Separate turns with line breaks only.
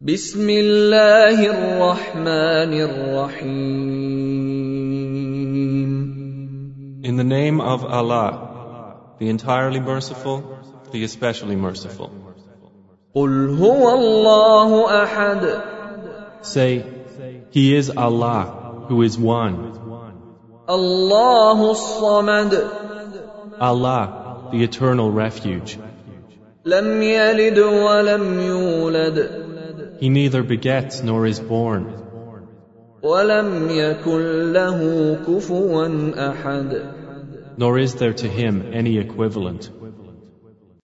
بسم الله الرحمن الرحيم
In the name of Allah, the entirely merciful, the especially merciful.
قل هو الله احد
Say, He is Allah, who is one.
الله الصمد
Allah, the eternal refuge.
لم يلد ولم يولد
He neither begets nor is born,
ولم يكن له كفوا احد
nor is there to him any equivalent.